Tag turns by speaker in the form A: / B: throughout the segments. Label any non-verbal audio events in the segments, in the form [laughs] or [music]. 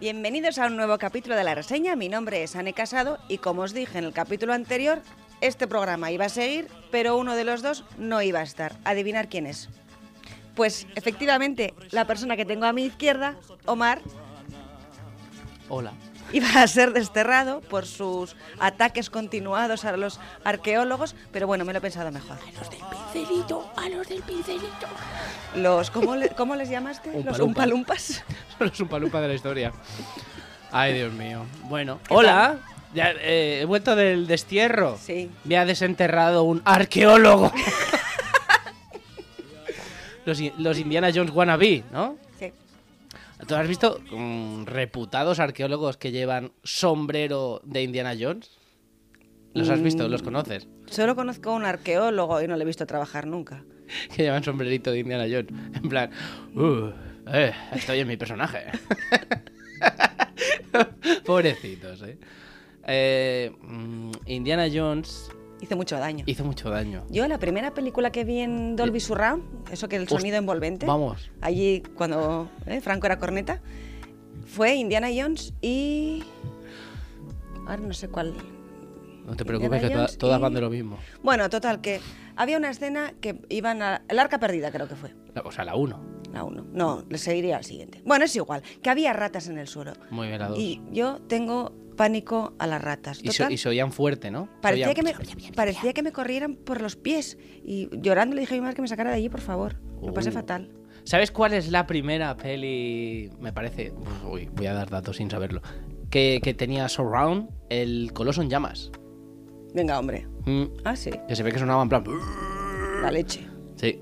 A: Bienvenidos a un nuevo capítulo de la reseña. Mi nombre es Anne Casado y como os dije en el capítulo anterior, este programa iba a seguir, pero uno de los dos no iba a estar. Adivinar quién es. Pues efectivamente, la persona que tengo a mi izquierda, Omar, [laughs]
B: Hola. [laughs]
A: iba a ser desterrado por sus ataques continuados a los arqueólogos, pero bueno, me lo he pensado mejor.
C: pincelito, a los del pincelito.
A: Los, ¿cómo, le- cómo les llamaste?
B: Umpa
A: los
B: Lumpa.
A: umpalumpas.
B: Son los umpalumpa de la historia. Ay, Dios mío. Bueno. Hola. Ya, eh, he vuelto del destierro.
A: Sí.
B: Me ha desenterrado un arqueólogo. los, i- los Indiana Jones wannabe, ¿no?
A: Sí.
B: ¿Tú has visto mm, reputados arqueólogos que llevan sombrero de Indiana Jones? ¿Los has visto? ¿Los conoces?
A: Solo conozco a un arqueólogo y no le he visto trabajar nunca.
B: Que llevan sombrerito de Indiana Jones. En plan, "Uh, eh, estoy en mi personaje. [laughs] Pobrecitos, eh. Eh, mm, Indiana Jones
A: Hice mucho daño.
B: hizo mucho daño.
A: Yo la primera película que vi en Dolby Surround, eso que el
B: Host-
A: sonido envolvente,
B: Pues, Vamos.
A: allí cuando eh, Franco era corneta, fue Indiana Jones y... Ahora no sé cuál.
B: No te preocupes, que
A: Indiana
B: toda-
A: Jones
B: todas
A: y-
B: van de lo mismo.
A: Bueno, total, que había una escena que iban a... El arca perdida creo que fue,
B: La- O sea, la 1.
A: la uno. No, le seguiría al siguiente. Bueno, es igual, que había ratas en el suelo.
B: Muy bien, la 2. Y,
A: Y yo tengo pánico a las ratas.
B: so-
A: Total,
B: y se oían fuerte, ¿no? Se
A: Parecía
B: oían-
A: que, me, parecía que me corrieran por los pies. Y llorando le dije a mi madre que me sacara de allí, por favor. Lo pasé
B: Uh.
A: fatal.
B: ¿Sabes cuál es la primera peli? Me parece. Uy, voy a dar datos sin saberlo. Que, que tenía Surround, el Coloso en Llamas.
A: Venga, hombre.
B: Mm,
A: Ah, sí,
B: que se ve que sonaba en plan.
A: la leche.
B: Sí.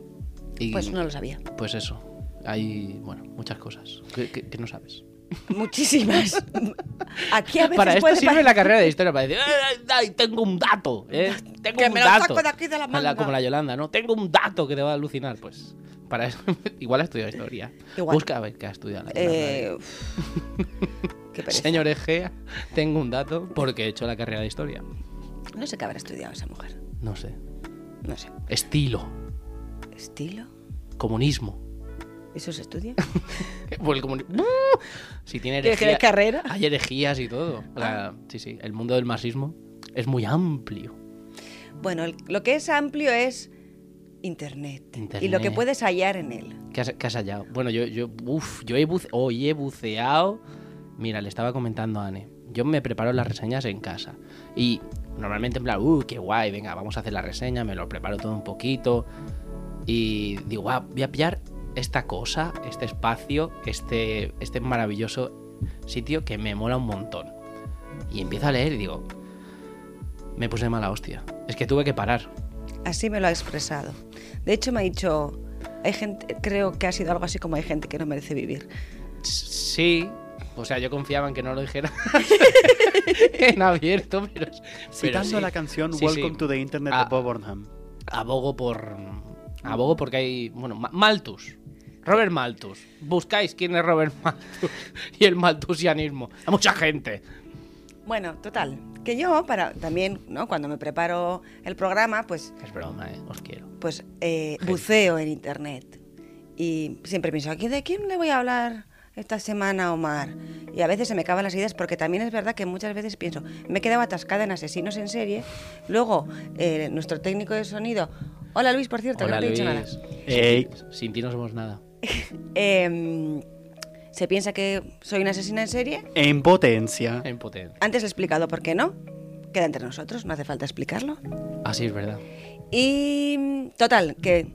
B: Y
A: Pues no lo sabía.
B: pues eso. Hay, bueno, muchas cosas que, que- que no sabes. [laughs]
A: Muchísimas. Aquí a veces
B: Para esto
A: puede
B: sirve
A: pare-
B: la carrera de historia, para decir, "Ay, ay, ay, tengo
A: [laughs]
B: un dato! ¿eh? Tengo
A: Que
B: un
A: me lo
B: dato.
A: saco de aquí de la
B: A
A: manga.
B: como la Yolanda, ¿no? Tengo un dato que te va a alucinar, pues. Para eso, [laughs] igual ha estudiado historia.
A: Igual.
B: Busca a ver qué ha estudiado la Yolanda.
A: Eh, uf. Qué pereza.
B: Señor Egea, tengo un dato porque he hecho la carrera de historia.
A: No sé qué habrá estudiado esa mujer.
B: No sé.
A: No sé.
B: Estilo.
A: ¿Estilo?
B: Comunismo. [laughs]
A: ¿Eso se estudia? [laughs]
B: Por el comuni- Si tiene
A: ¿Quieres que
B: herejía-
A: dé carrera? Ah.
B: Hay herejías y todo. O sea, Sí, sí. El mundo del marxismo es muy amplio.
A: Bueno, el- lo que es amplio es Internet, Y lo que
B: Internet.
A: puedes hallar en él.
B: ¿Qué has, qué has hallado? Bueno, yo, yo, uf, yo he buce- hoy he buceado. Mira, le estaba comentando a Anne. Yo me preparo las reseñas en casa. Y normalmente en plan, uh, qué guay, venga, vamos a hacer la reseña, me lo preparo todo un poquito. Y digo, "Ah, voy a pillar esta cosa, este espacio, este, este maravilloso sitio que me mola un montón. Y empiezo a leer y digo, me puse de mala hostia. Es que tuve que parar.
A: Así me lo ha expresado. De hecho, me ha dicho, hay gente, creo que ha sido algo así como hay gente que no merece vivir.
B: Sí. O sea, yo confiaba en que no lo dijera
D: [laughs]
B: en abierto, pero. pero
D: Citando
B: sí.
D: la canción
B: Sí, sí.
D: Welcome to the Internet
B: Ah.
D: de Bob Burnham.
B: Abogo por. Abogo porque hay. Bueno, Ma- Malthus. Robert Malthus. Buscáis quién es Robert Malthus [laughs] y el malthusianismo. Hay mucha gente.
A: Bueno, total, que yo para también, ¿no? Cuando me preparo el programa, pues,
B: Es broma, eh. Os quiero.
A: pues eh, buceo en internet y siempre pienso, "¿Aquí ¿de quién le voy a hablar esta semana, a Omar? Y a veces se me acaban las ideas porque también es verdad que muchas veces pienso, me he quedado atascada en asesinos en serie. Luego eh, nuestro técnico de sonido, hola Luis, por cierto,
B: Hola,
A: que no te he dicho
B: Luis.
A: nada.
D: Ey.
B: Sin ti no somos nada.
A: [laughs] Em, se piensa que soy una asesina en serie.
D: En potencia.
B: En potencia.
A: Antes he explicado por qué no. Queda entre nosotros, no hace falta explicarlo.
B: Así es verdad.
A: Y mm, total, que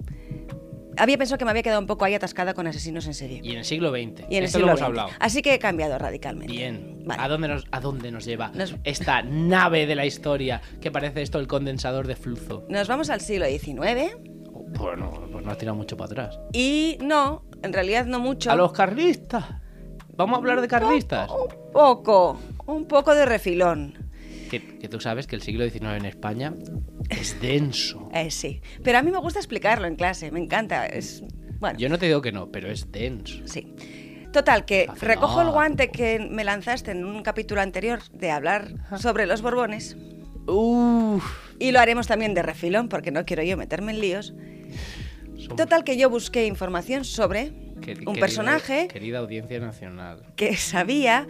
A: había pensado que me había quedado un poco ahí atascada con asesinos en serie.
B: Y en el siglo XX.
A: Y en el
B: Esto
A: siglo
B: lo hemos
A: XX.
B: hablado.
A: Así que he cambiado radicalmente.
B: Bien.
A: Vale.
B: ¿A, dónde nos, ¿A dónde nos lleva
A: Nos-
B: esta nave de la historia que parece esto el condensador de flujo?
A: Nos vamos al siglo XIX
B: Bueno, pues no has tirado mucho para atrás.
A: y no, en realidad no mucho.
B: A los carlistas. Vamos a hablar de carlistas.
A: Un poco, un poco de refilón.
B: Que, que tú sabes que el siglo XIX en España es denso.
A: Eh, sí. Pero a mí me gusta explicarlo en clase, me encanta. Es, bueno,
B: Yo no te digo que no, pero es denso.
A: sí. Total, que
B: Hace
A: recojo el
B: nada.
A: guante que me lanzaste en un capítulo anterior de hablar sobre los Borbones.
B: Uff.
A: Y lo haremos también de refilón, porque no quiero yo meterme en líos. Total, que yo busqué información sobre un personaje
B: Querida audiencia nacional.
A: que sabía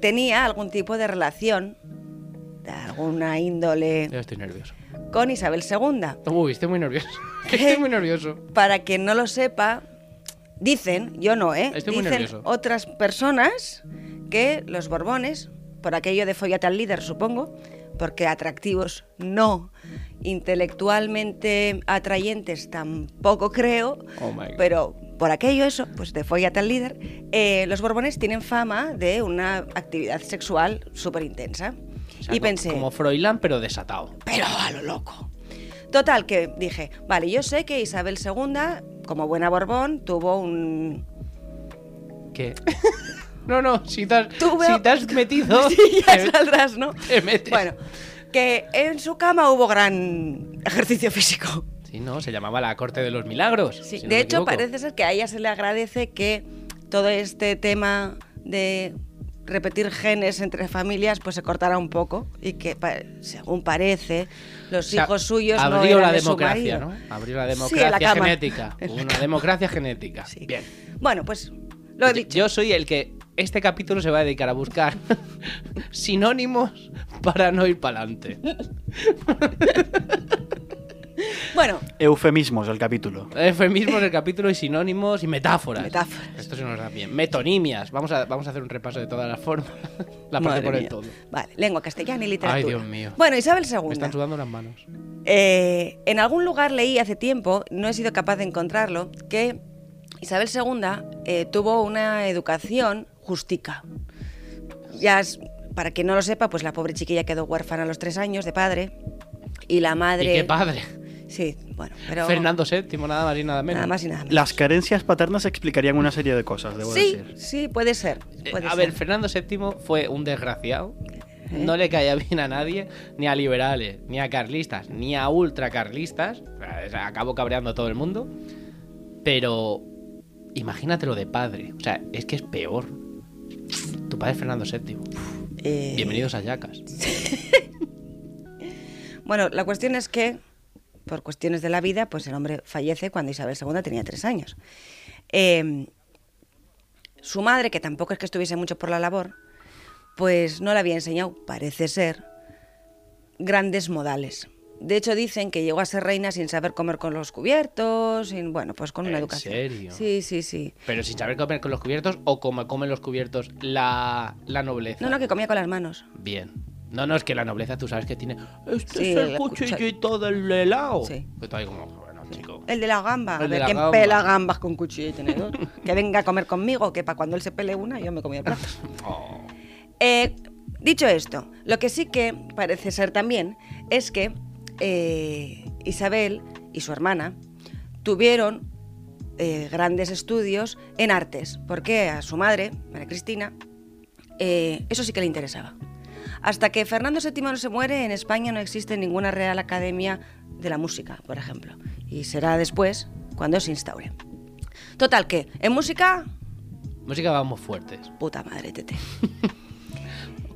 A: tenía algún tipo de relación de alguna
B: Yo
A: índole
B: estoy nervioso.
A: con Isabel II.
B: Uy, estoy muy nervioso.
A: [laughs]
B: [laughs] Estoy muy nervioso.
A: Para quien no lo sepa, dicen, yo no, ¿eh?
B: Estoy muy
A: dicen
B: nervioso.
A: otras personas que los Borbones, por aquello de follate al líder, supongo, porque atractivos no, intelectualmente atrayentes tampoco creo,
B: Oh my God.
A: pero por aquello eso, pues de follate al líder, eh, los Borbones tienen fama de una actividad sexual súper intensa.
B: O sea,
A: y
B: co-
A: pensé,
B: Como Froilán, pero desatado.
A: [laughs] pero a lo loco. Total, que dije, vale, yo sé que Isabel II, como buena Borbón, tuvo
B: [laughs]
A: un... [laughs]
B: ¿Qué? no, no, si te has,
A: Tuve-
B: si te has
A: [laughs]
B: metido.
A: Sí, ya
B: te-
A: saldrás,
B: [laughs]
A: ¿no?
B: te metes.
A: Bueno, que en su cama hubo gran ejercicio físico.
B: Sí, no, se llamaba la Corte de los Milagros.
A: Sí,
B: si no
A: de
B: me
A: hecho,
B: equivoco.
A: parece ser que a ella se le agradece que todo este tema de repetir genes entre familias pues se cortara un poco y que pa- según parece los
B: O sea,
A: hijos suyos no
B: abrió
A: eran
B: la
A: de su
B: democracia,
A: marido.
B: ¿no? Abrió
A: Sí,
B: la
A: en la
B: democracia
A: cama.
B: genética.
A: En la
B: Una democracia genética.
A: Sí.
B: Bien.
A: Bueno, pues lo he
B: Yo-
A: dicho.
B: Yo soy el que este capítulo se va a dedicar a buscar [laughs] sinónimos para no ir para adelante.
A: Bueno,
D: Eufemismos el capítulo.
B: Eufemismos del capítulo y sinónimos y metáforas.
A: Metáforas.
B: Esto se nos da bien. Metonimias. Vamos a, vamos a hacer un repaso de todas las formas. La parte
A: Madre
B: por el
A: mía.
B: todo.
A: Vale, lengua castellana y literatura.
B: Ay, Dios mío.
A: Bueno, Isabel
B: Me están
A: II.
B: sudando las manos.
A: Eh, en algún lugar leí hace tiempo, no he sido capaz de encontrarlo, que Isabel II eh, tuvo una educación justica. Ya, es- para quien no lo sepa, pues la pobre chiquilla quedó huérfana a los tres años de padre. Y la madre.
B: Y qué padre.
A: Sí, bueno, pero.
B: Fernando VII, nada más y nada menos.
A: Nada más y nada menos.
D: Las carencias paternas explicarían una serie de cosas, debo
A: Sí,
D: decir.
A: sí, puede ser.
B: Eh,
A: puede
B: a
A: ser. ¿Eh?
B: ver, Fernando VII fue un desgraciado. No le caía bien a nadie, ni a liberales, ni a carlistas, ni a ultracarlistas. O sea, Acabó cabreando a todo el mundo. Pero imagínatelo de padre. O sea, es que es peor. Tu padre es Fernando VII.
A: Eh,
B: Bienvenidos a Yacas.
A: Bueno, la cuestión es que, por cuestiones de la vida, pues el hombre fallece cuando Isabel II tenía tres años. Eh, su madre, que tampoco es que estuviese mucho por la labor, pues no le había enseñado, parece ser, grandes modales. De hecho, dicen que llegó a ser reina sin saber comer con los cubiertos, sin, bueno, pues con una
B: ¿En
A: educación.
B: serio?
A: Sí, sí, sí.
B: Pero sin saber comer con los cubiertos o como comen los cubiertos la, la nobleza.
A: No, no, que comía con las manos.
B: Bien. No, no, es que la nobleza tú sabes que tiene. Este
A: Sí,
B: es el
A: la cuchara-
B: cuchillito del helado.
A: Sí,
B: Que tú ahí como, bueno, chico.
A: El de la gamba. a
B: El de
A: ver,
B: la
A: ¿quién
B: gamba.
A: pela gambas con cuchillo y tenedor? [laughs] que venga a comer conmigo, que para cuando él se pele una, yo me comí el plato.
B: [laughs] Oh.
A: Eh, dicho esto, lo que sí que parece ser también es que eh, Isabel y su hermana tuvieron eh, grandes estudios en artes, porque a su madre, María Cristina, eh, eso sí que le interesaba. Hasta que Fernando VII no se muere, en España no existe ninguna Real Academia de la Música, por ejemplo. Y será después cuando se instaure. Total, que en música,
B: Música vamos fuertes.
A: puta madre, tete.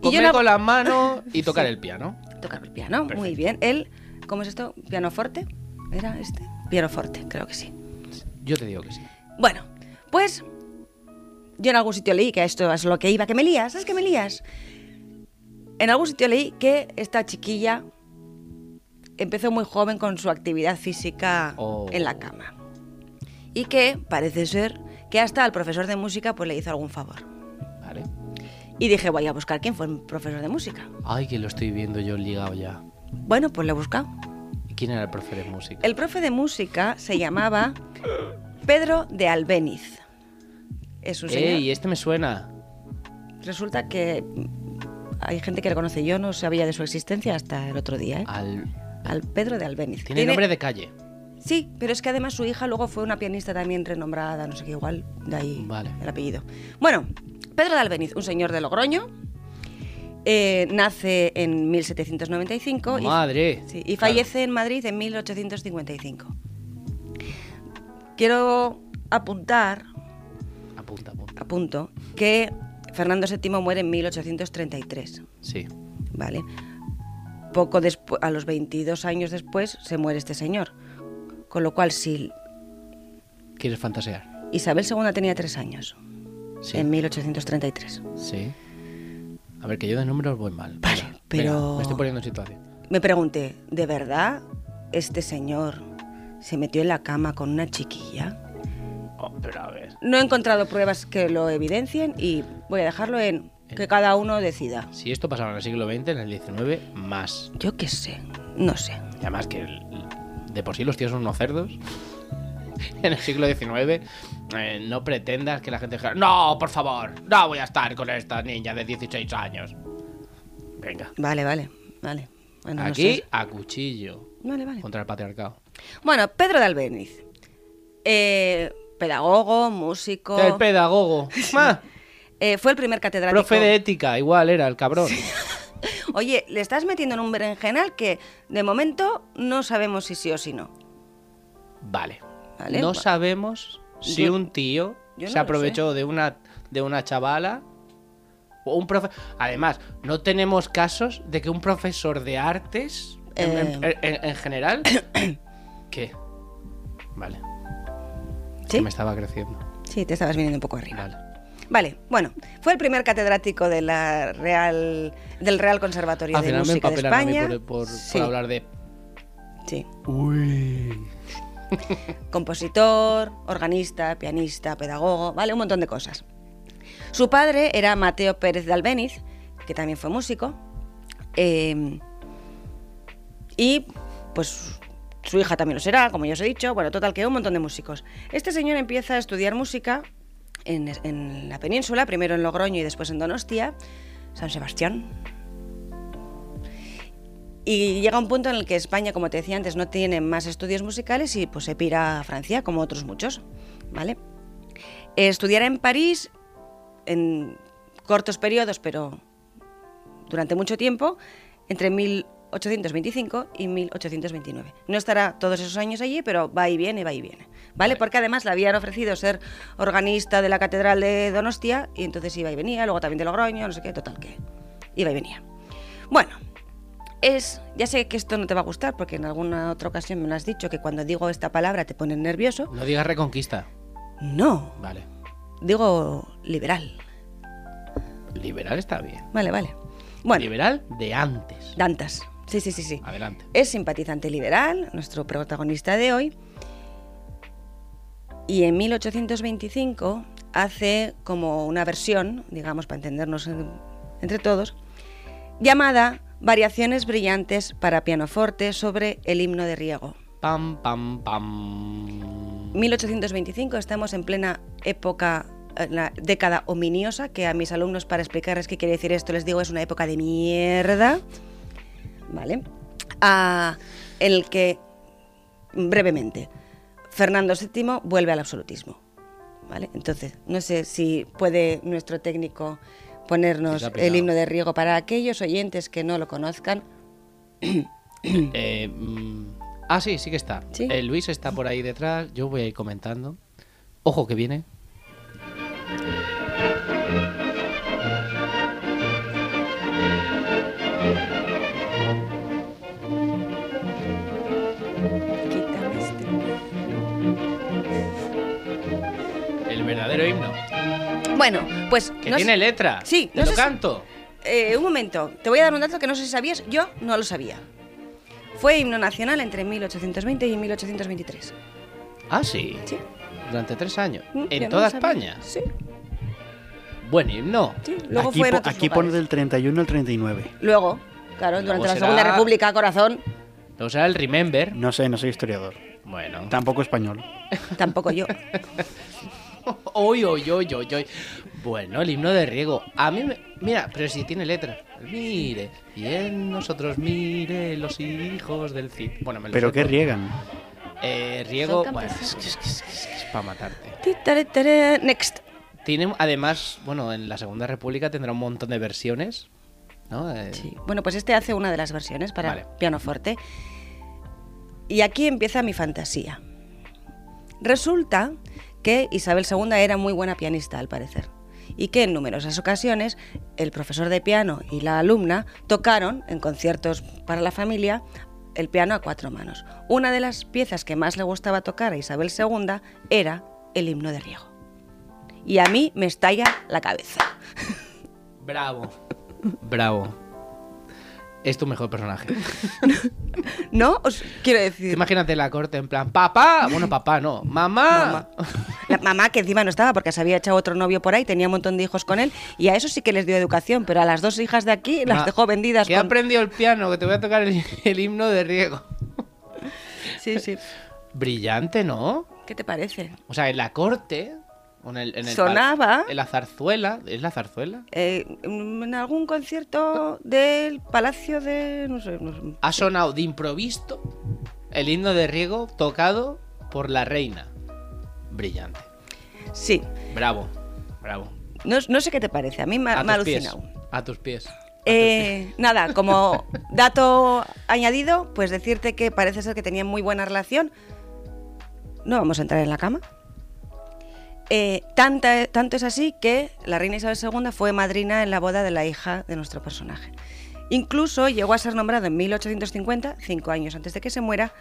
A: Y yo
B: Comer
A: no-
B: con
A: [laughs]
B: las manos y tocar el piano.
A: Tocar el piano, muy
B: Perfecto.
A: bien. Él, ¿cómo es esto? ¿Pianoforte? ¿Era este? Pianoforte, creo que sí.
B: Yo te digo que sí.
A: Bueno, pues yo en algún sitio leí que esto es lo que iba, que me lías, ¿sabes que me lías? En algún sitio leí que esta chiquilla empezó muy joven con su actividad física
B: Oh.
A: en la cama. Y que parece ser que hasta al profesor de música pues le hizo algún favor.
B: Vale.
A: Y dije, voy a buscar quién fue el profesor de música.
B: Ay, que lo estoy viendo yo ligado ya.
A: Bueno, pues lo he buscado.
B: ¿Y quién era el profe de música?
A: El profe de música se llamaba Pedro de Albéniz. Es un señor.
B: Ey, este me suena.
A: Resulta que mm, hay gente que le conoce. Yo no sabía de su existencia hasta el otro día. ¿eh?
B: Al...
A: Al Pedro de Albéniz.
B: Tiene Ah. nombre de calle.
A: Sí, pero es que además su hija luego fue una pianista también renombrada, no sé qué, igual, de ahí
B: Vale.
A: el apellido. Bueno, Pedro de Albeniz, un señor de Logroño, eh, nace en 1795 y-
B: Madre.
A: sí, y fallece en Madrid en 1855. Quiero apuntar,
B: Claro. Apunta, apunta.
A: apunto, que Fernando VII muere en 1833,
B: Sí.
A: ¿vale? Poco después, a los 22 años después, se muere este señor. Con lo cual, si
B: ¿Quieres fantasear?
A: Isabel II tenía tres años,
B: Sí.
A: en 1833.
B: Sí. A ver, que yo de números voy mal.
A: Vale,
B: Venga,
A: pero-
B: venga, me estoy poniendo en situación.
A: Me pregunté, ¿de verdad este señor se metió en la cama con una chiquilla?
B: Oh, pero a ver.
A: No he encontrado pruebas que lo evidencien y voy a dejarlo en
B: Eh.
A: que cada uno decida.
B: Si esto pasaba en el siglo XX, en el XIX, más.
A: Yo qué sé, no sé.
B: Y además que el- de por sí los tíos son unos cerdos. [laughs] En el siglo XIX, eh, no pretendas que la gente diga, no, por favor, no voy a estar con esta niña de 16 años. Venga.
A: Vale, vale, vale. Bueno, no
B: Aquí,
A: sé.
B: a cuchillo.
A: Vale, vale.
B: Contra el patriarcado.
A: Bueno, Pedro de Albeniz. Eh, pedagogo, músico.
B: El
A: [laughs]
B: pedagogo. Ma,
A: eh, fue el primer catedrático.
B: profe de ética, igual era el cabrón.
A: Oye, le estás metiendo en un berenjenal que de momento no sabemos si sí o si no.
B: Vale.
A: Vale,
B: no
A: va-
B: sabemos si
A: Yo-
B: un tío
A: yo
B: se
A: no lo
B: aprovechó de una, de una chavala o un profe... Además, no tenemos casos de que un profesor de artes en,
A: Eh.
B: en- en-
A: [coughs]
B: en general... ¿Qué? Vale, que
A: ¿Sí?
B: me estaba creciendo.
A: Sí, te estabas viniendo un poco arriba.
B: Vale.
A: Vale, bueno, fue el primer catedrático de la Real, del Real Conservatorio
B: Al
A: de
B: final me
A: Música de
B: empapelan Ah, a mí
A: España.
B: por, por- por
A: sí,
B: hablar de...
A: sí.
B: Uy.
A: Compositor, organista, pianista, pedagogo, vale, un montón de cosas. Su padre era Mateo Pérez de Albéniz, que también fue músico. eh, y pues su hija también lo será, como ya os he dicho. Bueno, total, que un montón de músicos. Este señor empieza a estudiar música en, en la península, primero en Logroño y después en Donostia, San Sebastián. Y llega un punto en el que España, como te decía antes, no tiene más estudios musicales y pues se pira a Francia, como otros muchos, ¿vale? Estudiará en París en cortos periodos, pero durante mucho tiempo, entre 1825 y 1829. No estará todos esos años allí, pero va y viene, va y viene. ¿Vale? Porque además le habían ofrecido ser organista de la Catedral de Donostia y entonces iba y venía, luego también de Logroño, no sé qué, total que iba y venía. Bueno, es, ya sé que esto no te va a gustar porque en alguna otra ocasión me lo has dicho que cuando digo esta palabra te pones nervioso.
B: No digas reconquista.
A: No,
B: Vale.
A: digo liberal.
B: Liberal está bien.
A: Vale, vale. Bueno,
B: Liberal de antes.
A: Dantas. Sí, sí, sí, sí.
B: Adelante.
A: Es simpatizante liberal, nuestro protagonista de hoy. Y en 1825 hace como una versión, digamos, para entendernos en- entre todos, llamada Variaciones Brillantes para Pianoforte sobre el himno de Riego.
B: Pam, pam, pam.
A: 1825 estamos en plena época, eh, la década ominiosa, que a mis alumnos para explicarles qué quiere decir esto les digo es una época de mierda, ¿vale? Ah, en el que, brevemente, Fernando VII vuelve al absolutismo, ¿vale? Entonces, no sé si puede nuestro técnico ponernos
B: Sí, se ha
A: el
B: pillado.
A: himno de riego para aquellos oyentes que no lo conozcan.
B: Eh, mm, ah, sí, sí que está.
A: Sí.
B: Eh, Luis está por ahí detrás, yo voy a ir comentando. Ojo que viene.
A: Quítame este.
B: El verdadero himno.
A: Bueno, pues...
B: Que
A: no sé-
B: tiene letra.
A: Sí,
B: Te
A: no
B: lo
A: sé si-
B: canto.
A: Eh, un momento, te voy a dar un dato que no sé si sabías, yo no lo sabía. Fue himno nacional entre 1820 y 1823.
B: Ah, sí.
A: Sí.
B: Durante tres años.
A: Mm, yo
B: en
A: no
B: toda
A: lo sabía.
B: España.
A: Sí,
B: Buen himno.
A: sí. Luego
D: aquí
A: fue en
D: po-
A: otros
D: aquí
A: lugares.
D: pone del 31 al 39.
A: Luego, claro,
B: Luego
A: durante la
B: será-
A: Segunda República, corazón,
B: O sea, el Remember.
D: No sé, no soy historiador.
B: Bueno. [laughs]
D: Tampoco español.
A: tampoco yo.
B: Oy, oy, oy, oy, oy. Bueno, el himno de riego. A mí me... Mira, pero si tiene letra. Mire, y en nosotros mire los hijos del Cid. Bueno, me lo
D: Pero
B: sé
D: qué
B: todo.
D: riegan.
B: Eh, riego.
C: Son
B: bueno,
C: campesinos.
B: es que es, para matarte.
A: Ti, tare, tare, Next.
B: Tiene, además, bueno, en la Segunda República tendrá un montón de versiones. ¿No? Eh,
A: Sí. Bueno, pues este hace una de las versiones para
B: Vale.
A: pianoforte. Y aquí empieza mi fantasía. Resulta que Isabel II era muy buena pianista, al parecer, y que en numerosas ocasiones el profesor de piano y la alumna tocaron en conciertos para la familia el piano a cuatro manos. Una de las piezas que más le gustaba tocar a Isabel II era el himno de riego. Y a mí me estalla la cabeza.
B: Bravo. [laughs] Bravo. Es tu mejor personaje.
A: ¿No? Os quiero
B: Tú
A: decir.
B: Imagínate la corte en plan, papá. Bueno, papá, no. Mamá.
A: La mamá que encima no estaba porque se había echado otro novio por ahí, tenía un montón de hijos con él y a eso sí que les dio educación, pero a las dos hijas de aquí las
B: Ma-
A: dejó vendidas.
B: Que he
A: con-
B: aprendido el piano, que te voy a tocar el, el himno de riego.
A: Sí, sí.
B: Brillante, ¿no?
A: ¿Qué te parece?
B: O sea, en la corte. o En el, en el
A: Sonaba.
B: pal- En la zarzuela. ¿Es la zarzuela?
A: Eh, en algún concierto del Palacio de... No sé, no sé.
B: Ha sonado de improviso el himno de riego tocado por la reina. Brillante.
A: Sí,
B: Bravo. Bravo.
A: no, no sé qué te parece, a mí me, ha-
B: A
A: me ha
B: tus pies.
A: alucinado.
B: A tus pies. A tus pies.
A: Eh, nada, como dato añadido, pues decirte que parece ser que tenían muy buena relación. No vamos a entrar en la cama. Eh, tanta- tanto es así que la reina Isabel II fue madrina en la boda de la hija de nuestro personaje. Incluso llegó a ser nombrado en 1850, cinco años antes de que se muera,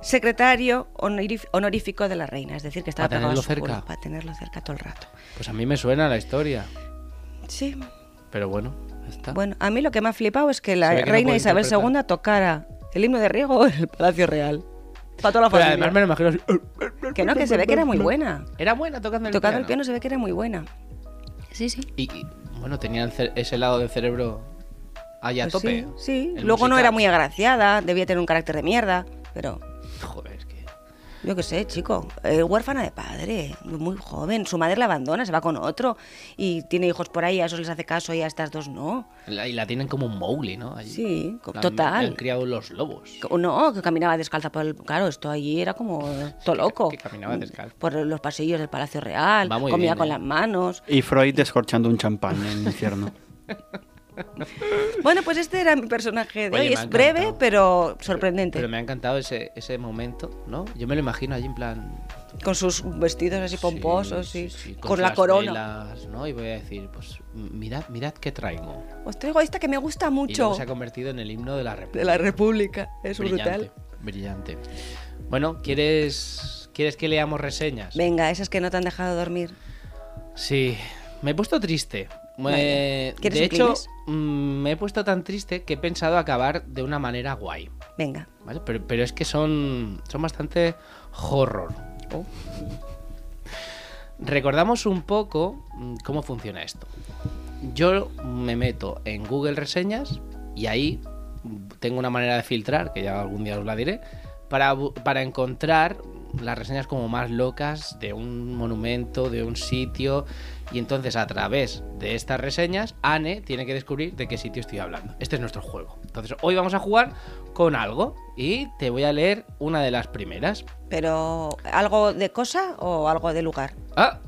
A: secretario honorif- honorífico de la reina. Es decir, que estaba
B: Para
A: pegado a
B: tenerlo
A: su culo,
B: cerca.
A: para tenerlo cerca todo el rato.
B: Pues a mí me suena la historia.
A: Sí,
B: Pero bueno, ya está.
A: Bueno, a mí lo que me ha flipado es que la
B: Se ve que no
A: reina
B: puede
A: Isabel II
B: interpretar.
A: tocara el himno de riego en el Palacio Real. Para toda la
B: Pero
A: familia.
B: además me lo imagino así. ¡uh!
A: Que no, que se ve que era muy buena.
B: Era buena tocando el
A: Tocando el
B: piano.
A: piano se ve que era muy buena. Sí, sí.
B: Y, y, bueno, tenía el cer- ese lado del cerebro allá a
A: Pues
B: tope. ¿eh?
A: Sí, sí.
B: El
A: Luego no
B: musical.
A: era muy agraciada, debía tener un carácter de mierda, pero
B: Joder, es que.
A: yo qué sé, chico. eh, huérfana de padre, muy joven. Su madre la abandona, se va con otro y tiene hijos por ahí, a esos les hace caso y a estas dos no.
B: La, y la tienen como un Mowgli, ¿no? Allí.
A: Sí, co-
B: La han-
A: total.
B: la Han criado los lobos.
A: Que- No, que caminaba descalza por el... Claro, esto allí era como todo loco.
B: que caminaba descalza.
A: Por los pasillos del Palacio Real,
B: Va muy
A: comía
B: bien,
A: con
B: ¿eh?
A: las manos.
D: Y Freud descorchando un champán en
B: [laughs]
D: el infierno.
A: Bueno, pues este era mi personaje de
B: Oye,
A: hoy.
B: me ha
A: Es breve,
B: encantado.
A: pero sorprendente.
B: Pero me ha encantado ese, ese momento, ¿no? Yo me lo imagino allí en plan.
A: Con sus vestidos así pomposos
B: sí,
A: y
B: sí, sí,
A: con, la
B: las
A: corona.
B: velas, ¿no? Y voy a decir, pues mirad, mirad qué traigo.
A: Os traigo esta que me gusta
B: Y luego
A: mucho.
B: se ha convertido en el himno de la
A: De
B: República.
A: la República. Es brutal.
B: Brillante. Bueno, ¿quieres, ¿quieres que leamos reseñas?
A: Venga, esas que no te han dejado dormir.
B: Sí, me he puesto triste. Me-
A: Vale. ¿Quieres
B: de
A: un
B: hecho,
A: Kleenex?
B: mm, me he puesto tan triste que he pensado acabar de una manera guay.
A: Venga.
B: ¿vale? Pero, pero es que son, son bastante horror.
A: Oh.
B: Recordamos un poco mm, cómo funciona esto. Yo me meto en Google Reseñas y ahí mm, tengo una manera de filtrar, que ya algún día os la diré, para, bu- para encontrar las reseñas como más locas de un monumento, de un sitio. Y entonces a través de estas reseñas, Anne tiene que descubrir de qué sitio estoy hablando. Este es nuestro juego. Entonces hoy vamos a jugar con algo y te voy a leer una de las primeras.
A: Pero, ¿algo de cosa o algo de lugar?
B: Ah.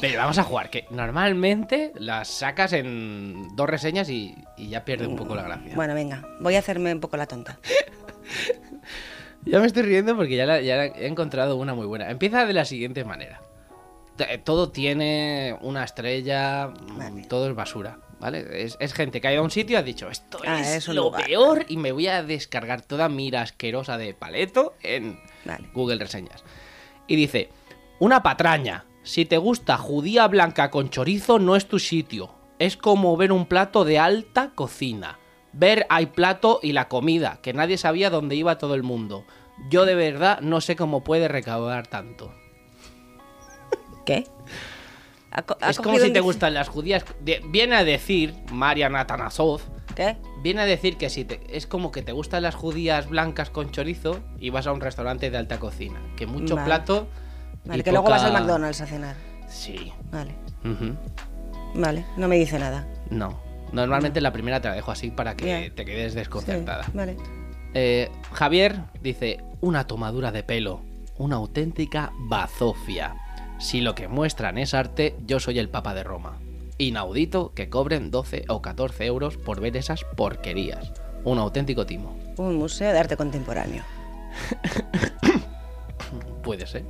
B: Pero vamos a jugar, que normalmente las sacas en dos reseñas y, y ya pierde un poco la gracia.
A: Bueno, venga. Voy a hacerme un poco la tonta.
B: Ya me estoy riendo porque ya, la- ya la- he encontrado una muy buena. Empieza de la siguiente manera. T- eh, Todo tiene una estrella, mm,
A: Vale.
B: todo es basura, ¿vale? Es, es gente que ha ido a un sitio y ha dicho, esto
A: Ah,
B: es,
A: es un
B: lo
A: lugar".
B: peor y me voy a descargar toda mi ira asquerosa de paleto en
A: Vale.
B: Google Reseñas. Y dice, una patraña, si te gusta judía blanca con chorizo no es tu sitio. Es como ver un plato de alta cocina. Ver hay plato y la comida, que nadie sabía dónde iba todo el mundo. Yo de verdad no sé cómo puede recaudar tanto.
A: ¿Qué? Ha co- ha
B: es como
A: cogido
B: si
A: un
B: te
A: dic-
B: gustan las judías. de- viene a decir, María Atanasov,
A: ¿Qué?
B: viene a decir que si te, es como que te gustan las judías blancas con chorizo y vas a un restaurante de alta cocina. Que mucho
A: Vale.
B: plato... y
A: Vale, que luego vas al
B: poca-
A: McDonald's a cenar.
B: Sí.
A: Vale.
B: Ujú.
A: Vale, no me dice nada.
B: No. Normalmente la primera te la dejo así para que
A: Bien.
B: te quedes desconcertada.
A: Sí, vale.
B: Eh, Javier dice, una tomadura de pelo, una auténtica bazofia. Si lo que muestran es arte, yo soy el Papa de Roma. Inaudito que cobren 12 o 14 euros por ver esas porquerías. Un auténtico timo.
A: Un museo de arte contemporáneo.
B: Puede ser.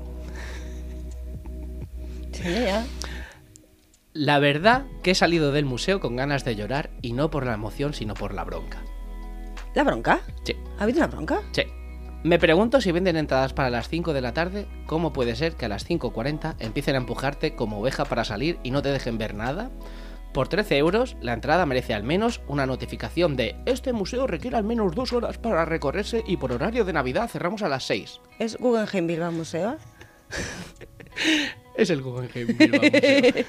A: Sí, ya.
B: La verdad que he salido del museo con ganas de llorar y no por la emoción, sino por la bronca.
A: ¿La bronca?
B: Sí.
A: ¿Ha habido una bronca?
B: Sí. Me pregunto si venden entradas para las 5 de la tarde, ¿cómo puede ser que a las 5.40 empiecen a empujarte como oveja para salir y no te dejen ver nada? Por 13 euros, la entrada merece al menos una notificación de este museo requiere al menos dos horas para recorrerse y por horario de Navidad cerramos a las 6.
A: ¿Es Guggenheim Bilbao Museo?
B: Es el Guggenheim Bilbao Museo.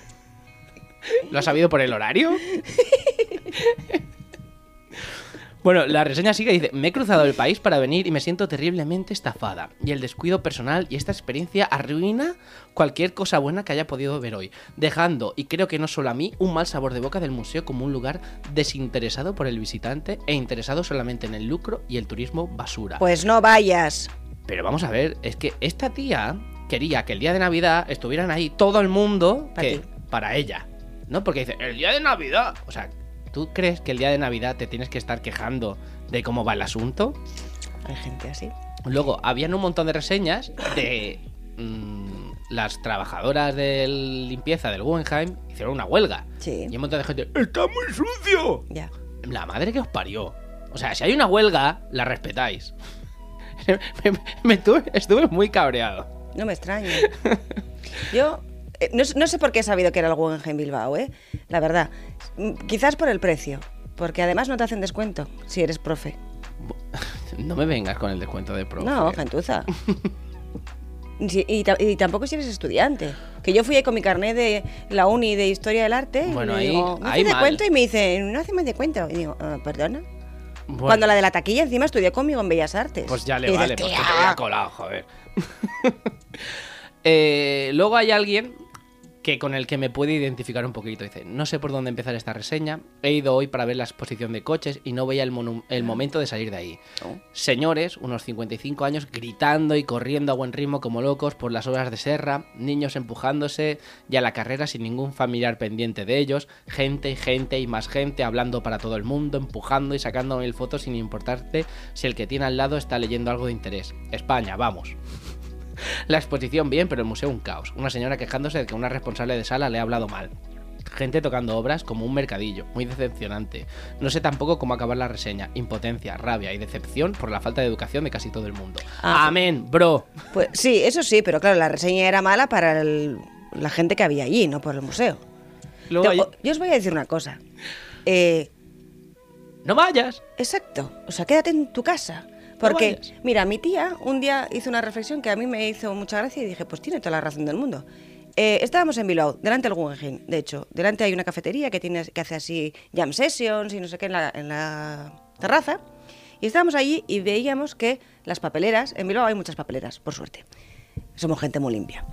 B: ¿Lo has sabido por el horario? Bueno, la reseña sigue y dice, me he cruzado el país para venir y me siento terriblemente estafada. Y el descuido personal y esta experiencia arruina cualquier cosa buena que haya podido ver hoy, dejando, y creo que no solo a mí, un mal sabor de boca del museo como un lugar desinteresado por el visitante e interesado solamente en el lucro y el turismo basura.
A: Pues no vayas.
B: Pero vamos a ver, es que esta tía quería que el día de Navidad estuvieran ahí todo el mundo
A: Pa'
B: que-
A: ti.
B: para ella. ¿No? Porque dice, el día de Navidad. O sea, ¿tú crees que el día de Navidad te tienes que estar quejando de cómo va el asunto?
A: Hay gente así.
B: Luego, habían un montón de reseñas de mm, las trabajadoras de limpieza del Guggenheim hicieron una huelga.
A: Sí.
B: Y un montón de gente, ¡está muy sucio!
A: Ya.
B: La madre que os parió. O sea, si hay una huelga, la respetáis. [laughs] me, me- me tuve- estuve muy cabreado.
A: No me
B: [laughs]
A: extraña. Yo eh, no, s- no sé por qué he sabido que era el Guggenheim Bilbao, ¿eh? La verdad. Mm, Quizás por el precio. Porque además no te hacen descuento si eres profe.
B: No me vengas con el descuento de profe.
A: No,
B: [laughs]
A: gentuza. Sí, y, ta- y tampoco si eres estudiante. Que yo fui ahí con mi carnet de la uni de Historia del Arte y
B: Bueno,
A: le
B: ahí-
A: digo, ¿me
B: ahí
A: haces de
B: mal.
A: cuento? Y me dicen, no haces más de cuento. Y digo, "Ah, perdona.
B: Bueno,
A: Cuando la de la taquilla encima estudió conmigo en Bellas Artes.
B: Pues ya
A: Y
B: le
A: dices,
B: vale, pues que te
A: "Tía".
B: había colado, joder. [laughs] Eh, luego hay alguien que con el que me puede identificar un poquito. Dice, no sé por dónde empezar esta reseña. He ido hoy para ver la exposición de coches y no veía el, monu- el momento de salir de ahí.
A: Oh.
B: Señores, unos 55 años, gritando y corriendo a buen ritmo como locos por las obras de serra, niños empujándose y a la carrera sin ningún familiar pendiente de ellos, gente y gente y más gente hablando para todo el mundo, empujando y sacando mil fotos sin importarte si el que tiene al lado está leyendo algo de interés. España, vamos. La exposición bien, pero el museo un caos. Una señora quejándose de que una responsable de sala le ha hablado mal. Gente tocando obras como un mercadillo, muy decepcionante. No sé tampoco cómo acabar la reseña. Impotencia, rabia y decepción por la falta de educación de casi todo el mundo.
A: Ah.
B: Amén, bro.
A: Pues sí, eso sí, pero claro, la reseña era mala para el- la gente que había allí, no por el museo.
B: Luego
A: Te-
B: hay-
A: o- Yo os voy a decir una cosa. Eh,
B: No vayas.
A: exacto, o sea, quédate en tu casa. Porque,
B: vayas.
A: mira, mi tía un día hizo una reflexión que a mí me hizo mucha gracia y dije, pues tiene toda la razón del mundo. Eh, estábamos en Bilbao, delante del Guggenheim, de hecho. Delante hay una cafetería que, tiene, que hace así jam sessions y no sé qué en la, en la terraza. Y estábamos allí y veíamos que las papeleras, en Bilbao hay muchas papeleras, por suerte. Somos gente muy limpia.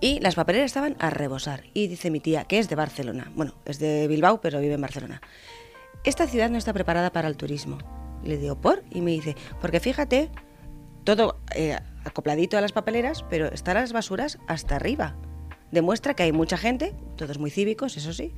A: Y las papeleras estaban a rebosar. Y dice mi tía, que es de Barcelona. Bueno, es de Bilbao, pero vive en Barcelona. Esta ciudad no está preparada para el turismo. Y Le digo, ¿por? Y me dice, porque fíjate, todo eh, acopladito a las papeleras, pero están las basuras hasta arriba. Demuestra que hay mucha gente, todos muy cívicos, eso sí,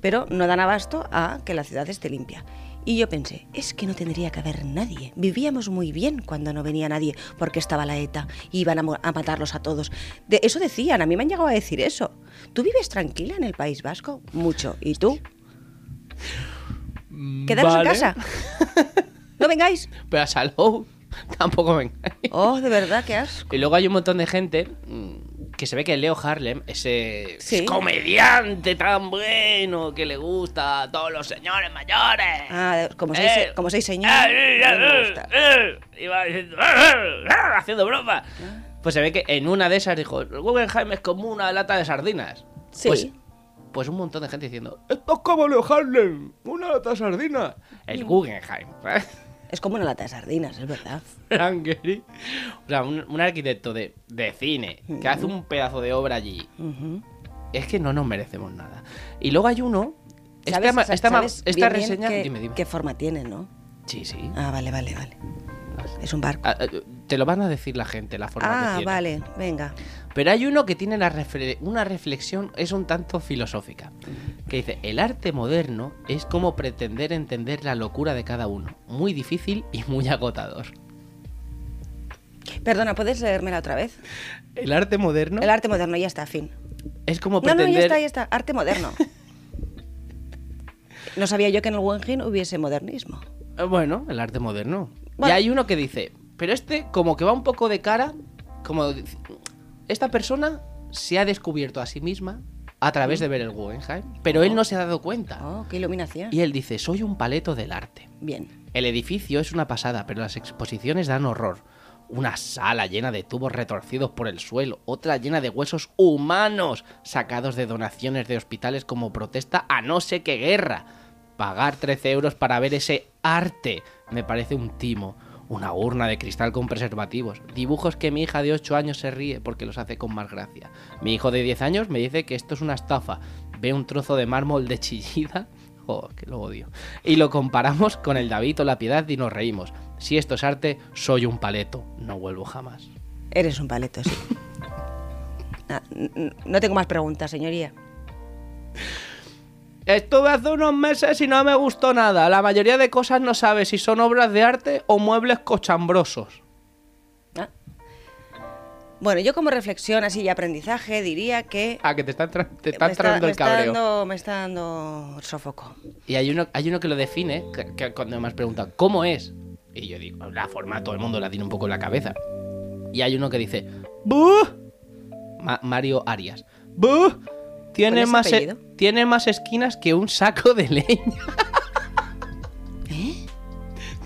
A: pero no dan abasto a que la ciudad esté limpia. Y yo pensé, es que no tendría que haber nadie. Vivíamos muy bien cuando no venía nadie, porque estaba la ETA, y iban a, mo- a matarlos a todos. De, eso decían, a mí me han llegado a decir eso. ¿Tú vives tranquila en el País Vasco? Mucho. ¿Y tú? Quedaros
B: Vale.
A: en
B: [laughs]
A: casa. No vengáis.
B: Pero a Salou [laughs] tampoco vengáis.
A: Oh, de verdad, qué asco.
B: Y luego hay un montón de gente mm, que se ve que Leo Harlem, ese
A: Sí.
B: comediante tan bueno que le gusta a todos los señores mayores.
A: Ah, como seis,
B: Eh,
A: como seis señores.
B: eh,
A: no me
B: eh,
A: gusta.
B: eh, eh, iba diciendo, eh, eh, eh, haciendo broma.
A: Ah.
B: Pues se ve que en una de esas dijo, el Guggenheim es como una lata de sardinas.
A: Sí.
B: Pues, pues un montón de gente diciendo, esto es como Leo Harlem, una lata de sardinas.
A: Mm.
B: El Guggenheim, [laughs] ¿sabes?
A: Es como una lata de sardinas, es verdad.
B: Frank Gehry. O sea, un, un arquitecto de, de cine que hace
A: Mm.
B: un pedazo de obra allí.
A: Ujú.
B: Es que no nos merecemos nada. Y luego hay uno. Esta,
A: Sabes-
B: ma-
A: sa-
B: esta ma-
A: sabes
B: esta
A: bien, bien
B: reseña.
A: qué,
B: dime, dime.
A: qué forma tiene, ¿no?
B: Sí, sí.
A: Ah, vale, vale, vale. Es un barco.
B: Ah, ah, Te lo van a decir la gente, la forma que
A: Ah,
B: tiene.
A: vale, venga.
B: Pero hay uno que tiene la refle- una reflexión, es un tanto filosófica, que dice, el arte moderno es como pretender entender la locura de cada uno, muy difícil y muy agotador.
A: Perdona, ¿puedes leérmela otra vez?
B: El arte moderno
A: El arte moderno, ya está, fin.
B: es como
A: No, no,
B: pretender...
A: ya está, ya está. Arte
B: [laughs]
A: moderno. No sabía yo que en el Wengen hubiese modernismo.
B: Eh, Bueno, el arte moderno.
A: Bueno.
B: Y hay uno que dice, pero este como que va un poco de cara, como dice, esta persona se ha descubierto a sí misma a través de ver el Guggenheim, pero él no se ha dado cuenta.
A: Oh, qué iluminación.
B: Ah. Y él dice, soy un paleto del arte.
A: Bien.
B: El edificio es una pasada, pero las exposiciones dan horror. Una sala llena de tubos retorcidos por el suelo, otra llena de huesos humanos sacados de donaciones de hospitales como protesta a no sé qué guerra. Pagar 13 euros para ver ese arte me parece un timo. Una urna de cristal con preservativos. Dibujos que mi hija de 8 años se ríe porque los hace con más gracia. Mi hijo de 10 años me dice que esto es una estafa. Ve un trozo de mármol de chillida Joder, que lo odio. Y lo comparamos con el David o la Piedad y nos reímos. Si esto es arte, soy un paleto. No vuelvo jamás.
A: Eres un paleto,
B: [laughs]
A: sí. Ah, n- n- no tengo más preguntas, señoría.
B: Estuve hace unos meses y no me gustó nada. La mayoría de cosas no sabes si son obras de arte o muebles cochambrosos.
A: Ah. Bueno, yo como reflexión así y aprendizaje diría que...
B: Ah, que te está, entra- te está
A: Eh, me está-
B: entrando
A: me
B: el
A: está
B: cabreo.
A: dando- me está dando sofoco.
B: Y hay uno, hay uno que lo define, que, que cuando me has preguntado, ¿cómo es? Y yo digo, la forma todo el mundo la tiene un poco en la cabeza. Y hay uno que dice, ¡Buh! Ma- Mario Arias. ¡Buh! Tiene
A: ese
B: más, e-
A: apellido?
B: tiene más esquinas que un saco de leña.
A: ¿Eh?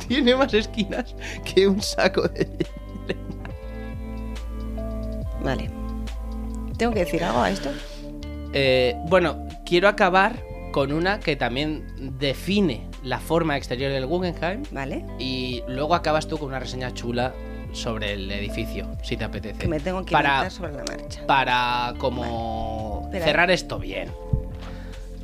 B: tiene más esquinas que un saco de leña.
A: Vale. ¿Tengo que decir algo a esto?
B: Eh, bueno, quiero acabar con una que también define la forma exterior del Guggenheim.
A: Vale.
B: Y luego acabas tú con una reseña chula sobre el edificio, si te apetece.
A: Que me tengo que
B: para,
A: inventar sobre la marcha.
B: para como
A: Espera.
B: cerrar esto bien.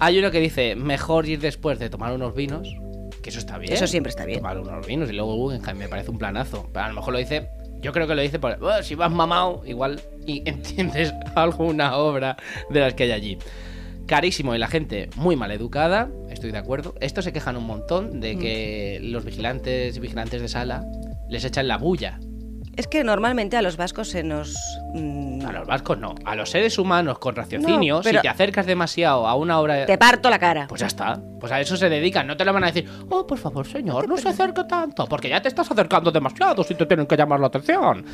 B: Hay uno que dice, mejor ir después de tomar unos vinos, que eso está bien.
A: Eso siempre está bien.
B: Tomar unos vinos y luego Guggenheim, me parece un planazo. Pero a lo mejor lo dice, yo creo que lo dice por, "Bueno, si vas mamado, igual y [laughs] entiendes alguna obra de las que hay allí. Carísimo y la gente muy mal educada, estoy de acuerdo. Estos se quejan un montón
A: Mm.
B: de que los vigilantes y vigilantes de sala les echan la bulla.
A: Es que normalmente a los vascos se nos... mm,
B: A los vascos no. A los seres humanos con raciocinio,
A: No, pero-
B: si te acercas demasiado a una obra.
A: Te parto la cara.
B: Pues ya está. Pues a eso se dedican. No te lo van a decir, oh, por favor, señor, no se acerque tanto, porque ya te estás acercando demasiado si te tienen que llamar la atención.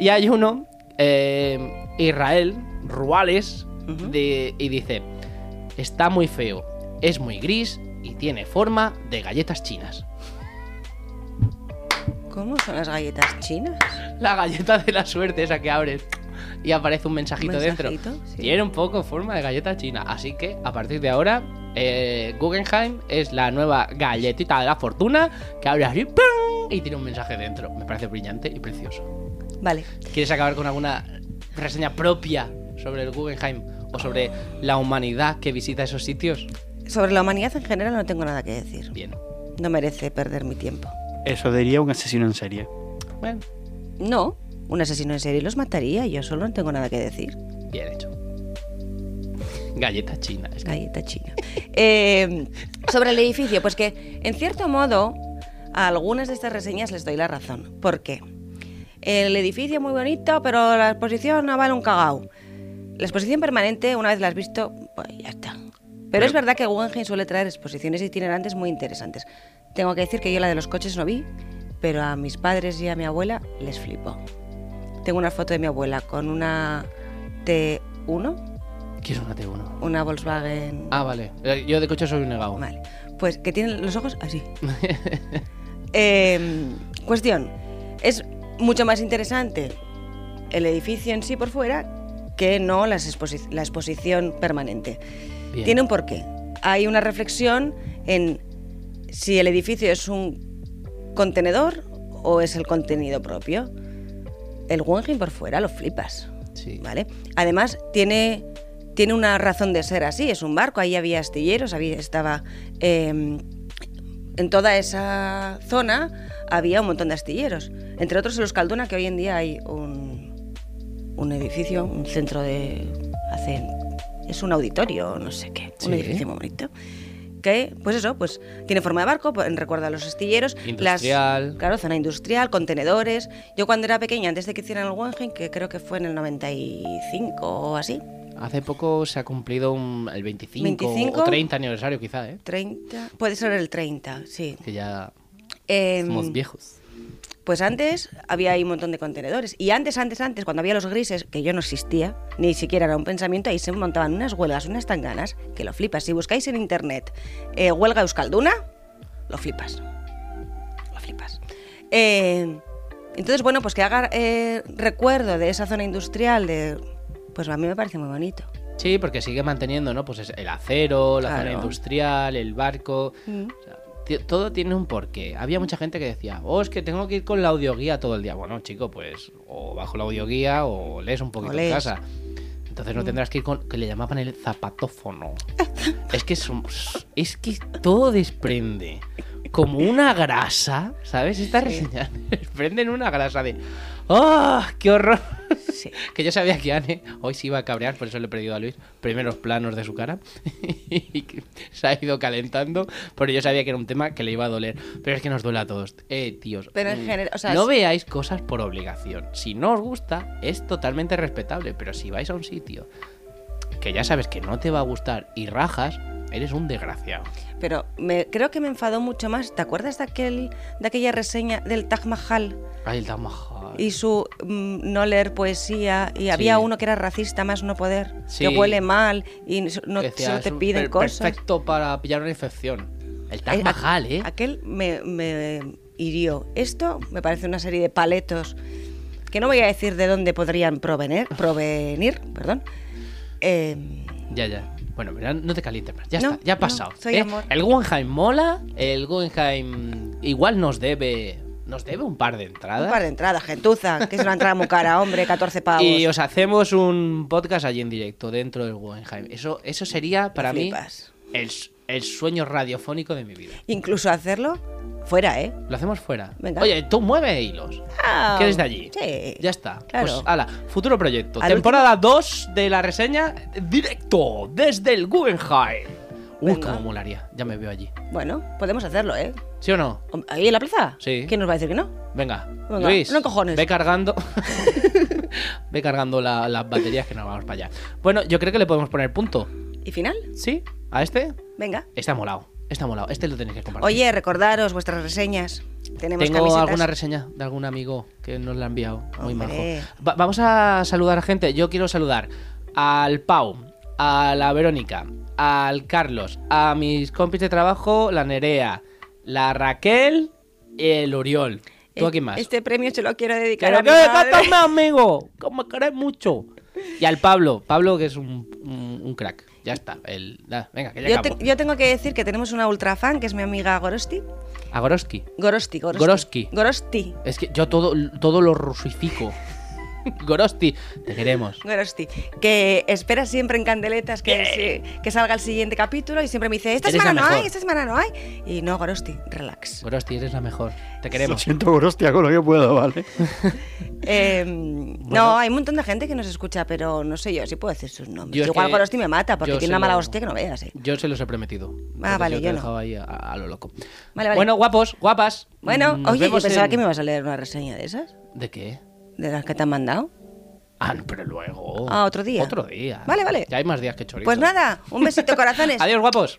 B: Y hay uno, eh, Israel, Ruales,
A: Ujú.
B: de- y dice: Está muy feo, es muy gris y tiene forma de galletas chinas.
A: ¿Cómo son las galletas chinas?
B: La galleta de la suerte, esa que abres y aparece un mensajito,
A: Mensajito,
B: dentro.
A: sí.
B: Tiene un poco forma de galleta china. Así que a partir de ahora, eh, Guggenheim es la nueva galletita de la fortuna que abre así ¡pum! y tiene un mensaje dentro. Me parece brillante y precioso.
A: Vale.
B: ¿Quieres acabar con alguna reseña propia sobre el Guggenheim o sobre la humanidad que visita esos sitios?
A: Sobre la humanidad en general no tengo nada que decir.
B: Bien.
A: No merece perder mi tiempo.
D: Eso diría un asesino en serie.
B: Bueno,
A: No, un asesino en serie los mataría. Yo solo no tengo nada que decir.
B: bien hecho. Galleta china. Es que
A: Galleta china. Eh, sobre el edificio, pues que en cierto modo a algunas de estas reseñas les doy la razón. ¿Por qué? El edificio muy bonito, pero la exposición no vale un cagao. La exposición permanente, una vez la has visto, pues ya está. Pero es verdad que Guggenheim suele traer exposiciones itinerantes muy interesantes. Tengo que decir que yo la de los coches no vi, pero a mis padres y a mi abuela les flipó. Tengo una foto de mi abuela con una T1,
B: quiero una T1.
A: una Volkswagen
B: Ah, vale. Eh, Yo de coche soy un negado.
A: Vale. Pues que tiene los ojos así. Eh, cuestión. Es mucho más interesante el edificio en sí por fuera que no las exposi- la exposición permanente.
B: Bien.
A: Tiene un porqué. Hay una reflexión en si el edificio es un contenedor o es el contenido propio. El Wengen por fuera lo flipas.
B: Sí.
A: Mm. ¿vale? Además, tiene, tiene una razón de ser así, es un barco, ahí había astilleros, había, estaba eh, en toda esa zona había un montón de astilleros. Entre otros, en Euskalduna, que hoy en día hay un, un edificio, un centro de. Hacen, es un auditorio, no sé qué,
B: Sí.
A: un edificio muy bonito. Que, pues eso, pues tiene forma de barco, pues, recuerda a los astilleros. las-
B: Industrial.
A: claro, zona industrial, contenedores. Yo cuando era pequeña, antes de que hicieran el Wengen, que creo que fue en el 95 o así,
B: Hace poco se ha cumplido un- el 25,
A: 25.
B: o 30 aniversario quizá, ¿eh?
A: 30, puede ser el 30, sí.
B: Que ya
A: Em,
B: somos viejos.
A: Pues antes había ahí un montón de contenedores. Y antes, antes, antes, cuando había los grises, que yo no existía, ni siquiera era un pensamiento, ahí se montaban unas huelgas, unas tanganas, que lo flipas. Si buscáis en internet eh, huelga euskalduna, lo flipas. Lo flipas. Eh, entonces, bueno, pues que haga eh, recuerdo de esa zona industrial, de, pues a mí me parece muy bonito.
B: Sí, porque sigue manteniendo, ¿no? Pues es el acero, la zona
A: Claro.
B: industrial, el barco. O sea, ti- todo tiene un porqué. Había mucha gente que decía, oh, es que tengo que ir con la audioguía todo el día. Bueno, chico, pues o bajo la audioguía o lees un poquito
A: O lees. Mm.
B: en casa. Entonces no tendrás que ir con que le llamaban el zapatófono. es que somos, es que todo desprende como una grasa, ¿sabes? Estas [laughs] reseñas desprenden una grasa de ¡Oh, qué horror!
A: Sí.
B: [laughs] Que yo sabía que Anne hoy se iba a cabrear, por eso le he pedido a Luis primeros planos de su cara. [laughs] y que se ha ido calentando, pero yo sabía que era un tema que le iba a doler. Pero es que nos duele a todos. Eh, tíos.
A: Pero en
B: mm,
A: general, o sea,
B: no
A: es-
B: veáis cosas por obligación. Si no os gusta, es totalmente respetable. Pero si vais a un sitio que ya sabes que no te va a gustar y rajas, eres un desgraciado.
A: Pero me, creo que me enfadó mucho más. ¿Te acuerdas de, aquel, de aquella reseña del Taj Mahal?
B: Ay, el Taj Mahal.
A: y su mm, no leer poesía y había uno que era racista más no poder
B: Sí.
A: que huele mal y so- no
B: Que decía,
A: solo
B: "Es
A: te
B: un-
A: piden
B: per-
A: cosas
B: Perfecto para pillar una infección. El
A: Eh,
B: Taj
A: a-
B: Mahal, ¿eh?
A: aquel me, me hirió esto me parece una serie de paletos que no voy a decir de dónde podrían
B: [laughs]
A: provenir provenir perdón Eh,
B: Ya, ya. Bueno, mira, no te calientes más. Ya
A: No,
B: está, ya ha
A: no,
B: pasado.
A: soy
B: ¿eh?
A: amor.
B: El Guggenheim mola. El Guggenheim igual nos debe. Nos debe un par de entradas.
A: un par de entradas gentuza que es una entrada muy cara hombre 14 pavos
B: y os hacemos un podcast allí en directo, dentro del Guggenheim. Eso, eso sería para mí
A: Flipas.
B: el, s- el sueño radiofónico de mi vida.
A: incluso hacerlo fuera eh
B: Lo hacemos fuera.
A: Venga.
B: Oye, tú mueve hilos.
A: Ah,
B: ¿Qué desde allí?
A: sí.
B: Ya está.
A: Claro.
B: Pues, ala, futuro proyecto.
A: Al
B: Temporada 2 de la reseña, directo, desde el Guggenheim. Uy,
A: Venga.
B: cómo molaría. Ya me veo allí.
A: bueno podemos hacerlo eh
B: ¿Sí o no?
A: Hom- ahí en la plaza
B: Sí.
A: quién nos va a decir que no
B: Venga,
A: Venga,
B: Luis,
A: no cojones.
B: ve cargando, [laughs] ve cargando la- las baterías que nos vamos para allá. Bueno, yo creo que le podemos poner punto,
A: y final
B: ¿sí? ¿A este?
A: Venga.
B: Está molado, está molado. Este lo tenéis que compartir.
A: Oye, recordaros vuestras reseñas. Tenemos
B: tengo
A: camisetas.
B: alguna reseña de algún amigo que nos la ha enviado, muy majo.
A: Hombre.
B: Va- vamos a saludar a gente. Yo quiero saludar al Pau, a la Verónica, al Carlos, a mis compis de trabajo, la Nerea, la Raquel y el Oriol. ¿Tú a quién más?
A: Este premio se lo quiero
B: Que
A: dedicar
B: no
A: a mi
B: quiero
A: madre.
B: dejar más, amigo. Como me queréis mucho. Y al Pablo. Pablo, que es un, un- un crack. Ya está. El, da, venga, pues. que ya
A: Yo,
B: acabo.
A: te- yo tengo que decir que tenemos una ultra fan que es mi amiga Gorosti.
B: A Gorosky.
A: Gorosti, Gorosti.
B: Goroski.
A: Gorosti.
B: Es que yo todo, todo lo rusifico. Gorosti, te queremos.
A: Gorosti, que espera siempre en candeletas que, se- que salga el siguiente capítulo y siempre me dice, esta
B: Eres
A: semana
B: la
A: no hay,
B: mejor".
A: esta semana no hay. Y no, Gorosti, relax.
B: Gorosti, eres la mejor. Te
D: Lo
B: queremos.
D: siento, Gorostia, con lo que puedo, ¿vale?
A: Eh, no, hay un montón de gente que nos escucha, pero no sé yo si puedo decir sus nombres.
B: Yo es
A: Igual
B: que-
A: Gorosti me mata porque
B: yo
A: tiene
B: se
A: una mala
B: lo-
A: hostia que no veas, eh.
B: Yo se los he prometido. Entonces
A: Ah, vale,
B: yo, te
A: yo
B: he
A: no.
B: dejado ahí a, a lo loco.
A: Vale, vale.
B: Bueno, guapos, guapas.
A: Bueno,
B: Mm, nos
A: oye, yo
B: vemos
A: pensaba
B: en-
A: que me vas a leer una reseña de esas,
B: ¿De qué?
A: de las que te han mandado.
B: Ah, pero luego.
A: Ah, otro día.
B: Otro día.
A: Vale, vale.
B: Ya hay más días que chorizo.
A: Pues nada, un
B: [laughs]
A: besito corazones.
B: Adiós, guapos.